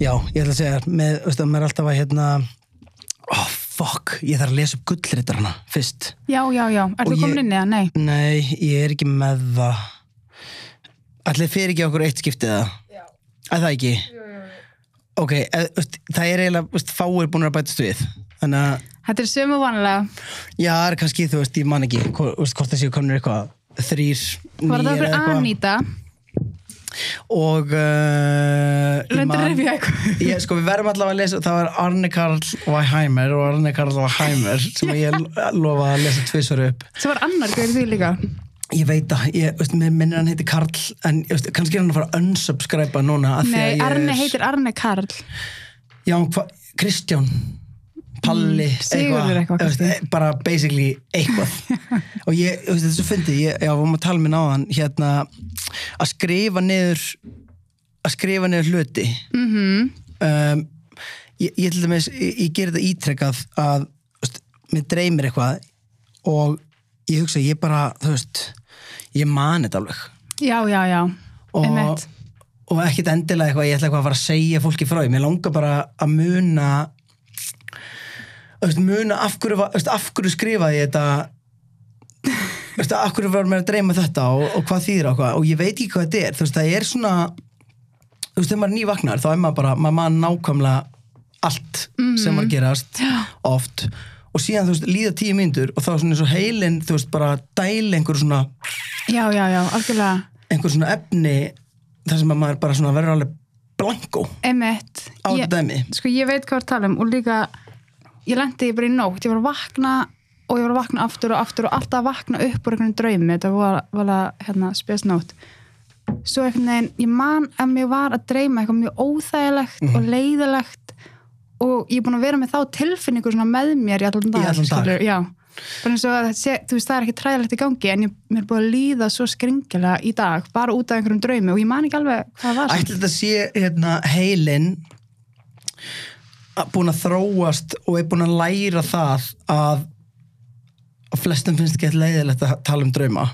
já, ég ætla að segja þér, með, veist það, maður er alltaf að hérna oh, fuck, ég þarf að lesa upp gullritarana fyrst Já, já, já. Er Og þú ég- komin inn eða? Nei. Nei, ég er ekki með það Ætli fyrir ekki okkur eitt skiptið það? Já Er það ekki? Jú, jú, jú. Ok, eð, veist, það er eiginlega, veist, fáir búin að bætast við Þannig að, Þetta er sömu vanlega. já, það er kannski, þú veist, ég man ekki hvo- veist, Hvort það séu komnir eitthvað Þrýr, Var nýir það eða fyrir Anita? Og uh, ég Reyndar man- rifja eitthvað. Ég, sko, við verðum allavega að lesa, það var Arne Karl Weiheimer og Arne Karl Weiheimer sem ég lo- lofa að lesa tvisvar upp Svo var annar gaur því líka. Ég veit að, ég, veist, mér minnir hann heiti Karl en ég veist, kannski er hann að fara að unsubscriba núna af því að Nei, ég Arne er, heitir Arne Karl. Já, hva, Kristján Palli, Mm, Sigurður eitthvað, þú veist, kannski. eh, bara basically eitthvað og ég, þú veist, þetta er svo fyndið ég, já, við varum að tala minn á hann hérna, að skrifa niður að skrifa niður hluti mm Mhm. -hmm. um, ég, ég til dæmis ég, ég gerir þetta ítrekkað að þú veist, mér dreymir eitthvað og ég hugsa, ég bara, þú veist ég man þetta alveg Já, já, já. og, Einmitt. og ekkit endilega eitthvað ég ætla eitthvað að fara að segja fólki frá því. mér langar bara að muna þú veist, muna af hverju, var- þú veist, af hverju skrifaði ég þetta Þú veist, af hverju var mér að dreyma þetta og, og hvað þýðir og hvað og ég veit ekki hvað þetta er þú veist, það er svona þú veist, þegar maður er nývagnar þá er maður bara, maður mann nákvæmlega allt sem var að gerast oft og síðan þú veist, líða tíu myndur og þá er svona eins og heilin þú veist, bara dæli einhver svona Já, já, já, algjörlega. einhver svona efni þar sem að maður bara svona verður alveg blanko Emmett. á þetta dæmi Sko, ég veit hvað það tala um og líka, ég lendi bara í nótt. Ég var að vakna og ég var að vakna aftur og aftur og alltaf að vakna upp úr einhvern draumi. Þetta var, var að, hérna, spes nótt. Svo einhvern veginn, ég man að mér var að dreyma eitthvað mjög óþægilegt og leiðilegt og ég er búin að vera með þá tilfinningu svona með mér í allan dag. allan dag. skilurðu, Já. Bara eins og að þetta sé, þú veist, það er ekki træðilegt í gangi en ég, mér er búin að líða svo skringilega í dag, bara út af einhverjum draumi og ég man ekki alveg hvað það var. samt. ætli þetta sé hérna heilin búin að þróast og er búin að læra það að að flestum finnst ekki eitthvað leiðilegt að tala um drauma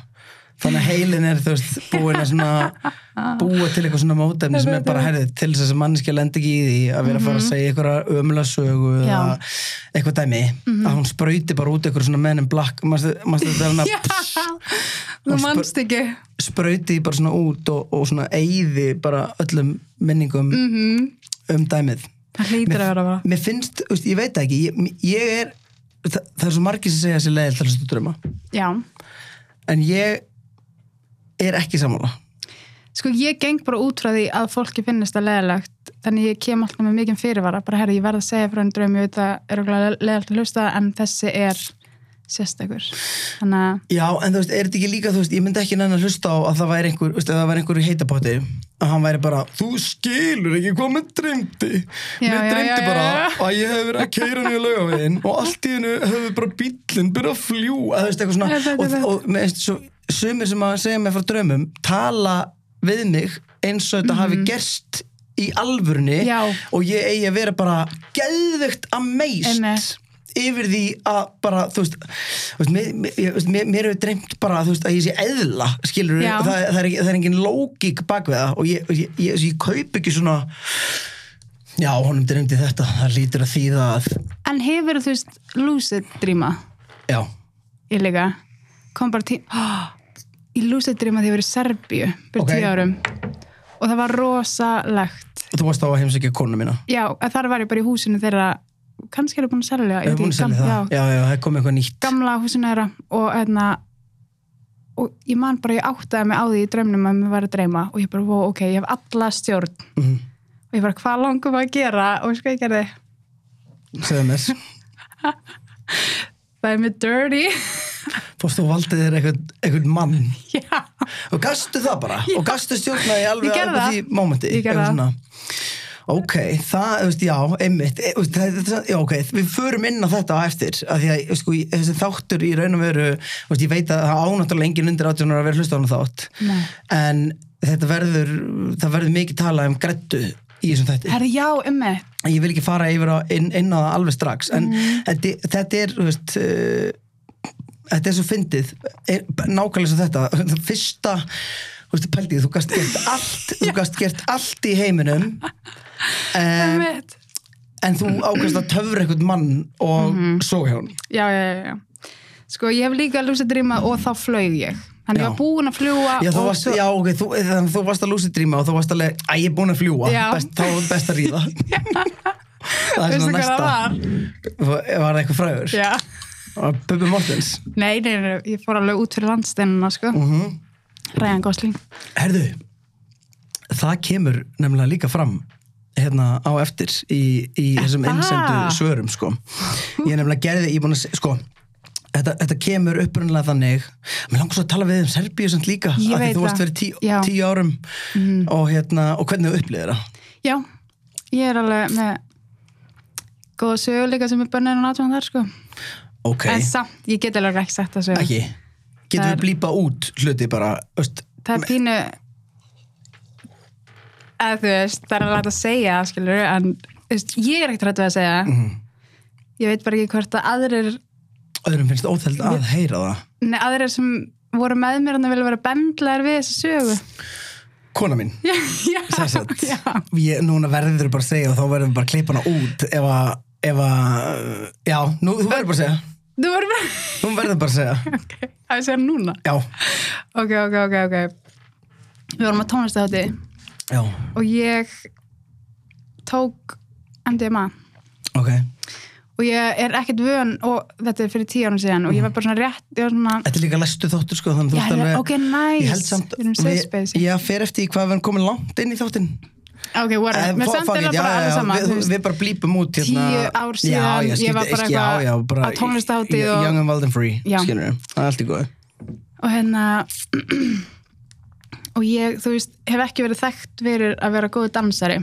þannig að heilin er þú veist búin að svona búa til eitthvað svona mótefni sem er bara herðið til þess að manneskja lendi ekki í því að vera að fara að segja eitthvað ömulega sögu eða Mhm. Já. Mhm. eitthvað dæmi að hún sprauti bara út eitthvað svona menn en blakk mannstu þetta hérna? er hann að Þú Og spur- manst ekki. sprauti bara svona út og, og svona eyði bara öllum minningum um dæmið Mhm. Það hlýtur að vera bara. mér finnst, þú veist, ég veit það ekki ég, ég er, það, það er svo margir sem segja sér leiðilt að hlusta á drauma Já. en ég er ekki sammála Sko ég geng bara út frá því að fólki finnist það leðilegt þannig ég kem alltaf með mikið fyrirvara bara herri, ég verð að segja frá einn draum, ég veit að er okkur leðilegt að hlusta en þessi er sérstakur. Þannig að já, en þú veist, er þetta ekki líka, þú veist, ég myndi ekki nenn að hlusta á að það væri einhver, þú veist, að það væri einhver í heitapotti að hann væri bara, þú skilur ekki hvað mér dreymdi Já, mér já, dreymdi já, bara já, já. að ég hef verið að keira niður laugavegin og allt í hennu hefur bara bíllinn byrjað að fljúa eða þú veist eitthvað svona Ég veit, ég og, veit. og, og mér finnst svo, sumir sem að segja mér frá draumum tala við mig eins og þetta hafi gerst í alvörni Mhm. Já. og ég eigi að vera bara geðvegt amazed Einmitt. yfir því að bara þú veist, þú veist, mér, mér, ég- þú veist, mér, mér hefur dreymt bara þú veist, að ég sé eðla skilur Já. það, það, er, ekki- það er engin lógík bak við það og ég, ég, ég, ég, ég kaup ekki svona já, honum dreymdi þetta það lítur að þýða að en hefur þú veist lucid drýma já, ég líka kom bara tím oh, í lucid drýma því ég verið í Serbíu fyrir Ok. tíu árum og það var rosalegt. þú varst á að heimsækja konu mína Já, en þar var ég bara í húsinu þeirra kannski er ég búin að selja Ég ég veit hef búin að ekki, selja gam- það, já, já, það er komið eitthvað nýtt gamla húsinu þeirra og hérna og ég man bara, ég áttaði mig á því í draumnum að mér var að dreyma og ég bara, wow, ok, ég hef alla stjórn Mhm. og ég bara, hvað langum að gera og sko ég gerði, segðu mér, það er mér dirty fórst þú og valdið þér eitthvað, eitthvað mann já, og gastu það bara, og gastu stjórnaði Ég alveg gerði alveg það. því mómenti Ég gerði það. ok, það, þú veist, já, einmitt e, þú veist, það, það, já, ok, við förum inn á þetta á eftir, af því að, sko, í- þessi þáttur í raun og veru, þú veist, ég veit að það ánáttúrulega engin undir átjónar að vera hlusta á hana þátt Nei. en þetta verður það verður mikið talað um grættu í þessum þætti herri, já, ummi ég vil ekki fara yfir á, inn, inn á það alveg strax en Mhm. þetta, þetta er þú veist, eh, e, uh, þetta er svo fyndið er, nákvæmlega svo þetta fyrsta þú veist, pældi, þú gast gert allt þú gast gert allt í heiminum um, Einmitt. en þú ákast að töfra eitthvað mann og Mhm. mm -hmm. svo hjá hún já, já, já, já. Sko, ég hef líka lúsið drýma og þá flög ég. Þannig Já. ég var búin að fljúa Já, þú og varst, já, ok, þú, eh, þannig, þú varst að lúsið drýma og þú varst alveg, að ég er búin að fljúa, Já. best, þá er best að ríða. það er Veistu svona hvað næsta. það var? Var það eitthvað frægur? Já. Var Bubbi Mortens. Nei, nei, nei, ég fór alveg út fyrir landsteinuna, sko. Mm -hmm. Ræðan Gosling. Herðu, það kemur nefnilega líka fram hérna á eftir í, í þessum Aha. innsendu svörum, sko. Ég er nefnilega gerði, ég er búin að, se- sko, þetta, þetta kemur upprunnilega þannig, mér langar svo að tala við um Serbíu sem líka, Ég af því veit þú varst það. verið tí, Já. Mhm. tíu árum og hérna, og hvernig þú upplýðir það? Já, ég er alveg með góða söguleika sem er bönnir og náttúrulega þar, sko. Ok. En samt, ég get alveg ekki sett það sögu. ekki getum sko. við Það er- blípa út hluti bara öst, Það er pínu, að þú veist, það er alveg hægt að segja, skilur, en þú veist, ég er ekkert rætt við að segja. mhm, Ég veit bara ekki hvort að aðrir, öðrum finnst óþæld að heyra það nei, aðrir sem voru með mér en það vilja vera bendlaðir við þessu sögu. kona mín Já, já, sem sagt. já. ég, núna verður bara að segja og þá verður bara að klippa hana út ef að ef að, já, nú, þú verður bara að segja Þú voru bara, þú verður bara að segja, ok, að ég segja núna. já, Ok, ok, ok, ok. Við vorum að tónlistu þátti já og ég tók MDMA ok, og ég er ekkert vön og þetta er fyrir tíu árum síðan og ég var bara svona rétt, ég var svona, þetta er líka læstu þóttur sko þannig þú Já, ert já, alveg ok, nice. ég held samt, Við erum safe space. ég fer eftir í hvað við erum komin langt inn í Eh, þáttin ok, whatever, mér samt er bara alveg sama, við, þú veist, við bara blípum út hérna, Tíu ár síðan, já, já, ég var skipti- bara já, eitthvað já, bara á tónlistarhátíð og- young and wild and free, Já. skilur við, það er allt í góðu og hérna, og ég, þú veist, hef ekki verið þekkt verið að vera góð dansari,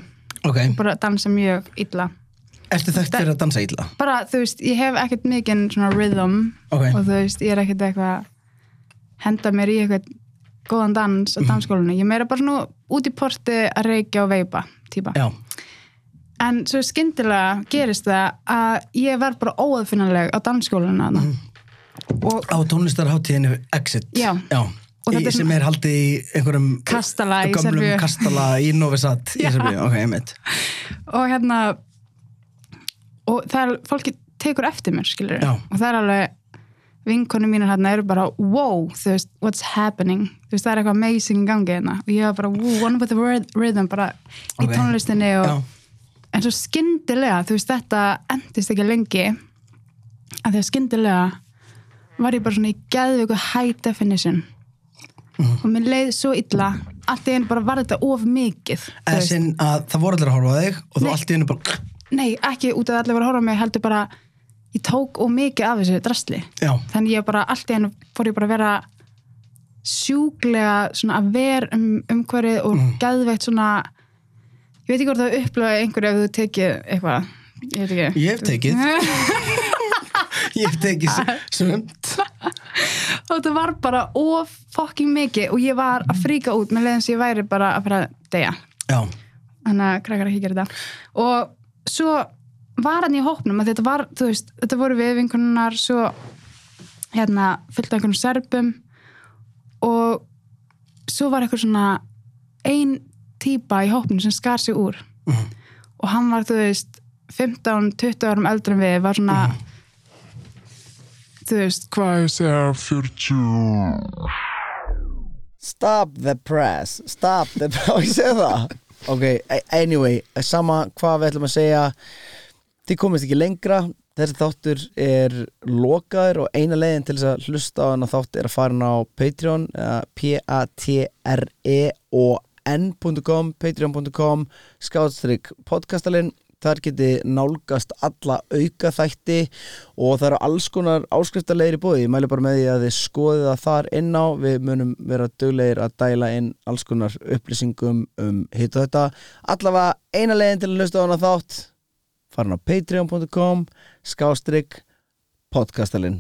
Ok, bara dansa mjög illa. ertu þekkt fyrir að dansa illa? Bara, þú veist, ég hef ekkert mikinn svona rhythm Ok, og þú veist, ég er ekkert eitthvað að henda mér í eitthvað góðan dans á dansskólinu, ég er meira bara svona út í porti að reykja og veipa típa. já, en svo skyndilega gerist það að ég verð bara óaðfinnileg á dansskólinu þarna. og á tónlistarháttíðinu Exit Já. Í, Og þetta er- sem er haldið í einhverjum Kastala í gömlum Serbíu. kastala í Novesat í Já. Serbíu, ok, einmitt og hérna og það er, fólki tekur eftir mér skilur Já. og það er alveg vinkonu mínar hérna eru bara wow, þú veist, what's happening þú veist, það er eitthvað amazing í gangi hérna og ég var bara, wow, one with the ryth- rhythm bara í Ok. tónlistinni og Já, en svo skyndilega, þú veist, þetta endist ekki lengi að því að skyndilega var ég bara svona í geðveiku high definition Mhm. og mér leið svo illa allt í einu bara var þetta of mikið þú eða veist. sinn að það voru allir að horfa á þig og þú Nei. allt í hennu bara Nei, ekki út af að allir voru að horfa á mig heldur bara, ég tók og mikið af þessu drastli. Já, Þannig ég bara, allt í hennu fór ég bara að vera sjúklega svona að ver um umhverfið og Mhm. geðveitt svona ég veit ekki hvort það upplöða einhverju ef þú tekið eitthvað, ég veit ekki ég hef tekið Ég hef tekið sumt og þetta var bara of fucking mikið og ég var að fríka út með leiðin sem ég væri bara að fara að deyja Já, þannig að krakkar ekki gera þetta og svo var hann í hópnum að þetta var, þú veist, þetta voru við vinkunnar svo hérna, fullt af einhvernum serbum og svo var eitthvað svona ein típa í hópnum sem skar sig úr Mhm. og hann var, þú veist 15-20 árum eldri en við var svona þú veist, Hvað ég segja 40? Stop the press Stop the press Og ég segi það Ok, a- anyway, sama er hvað við ætlum að segja Þið komist ekki lengra Þessi þáttur er lokaður og eina leiðin til þess að hlusta á hann að þátt er að fara hann á Patreon eða E p-a-t-r-e-o-n.com patreon.com skáðstrykk podcastalinn þar geti nálgast alla auka þætti og það eru alls konar áskriftarlegir í bóði, ég mæli bara með því að þið skoðið það þar inn á, við munum vera duglegir að dæla inn alls konar upplýsingum um hitt og þetta allavega eina leiðin til að hlusta á hana þátt farin á patreon.com skástrygg podcastalinn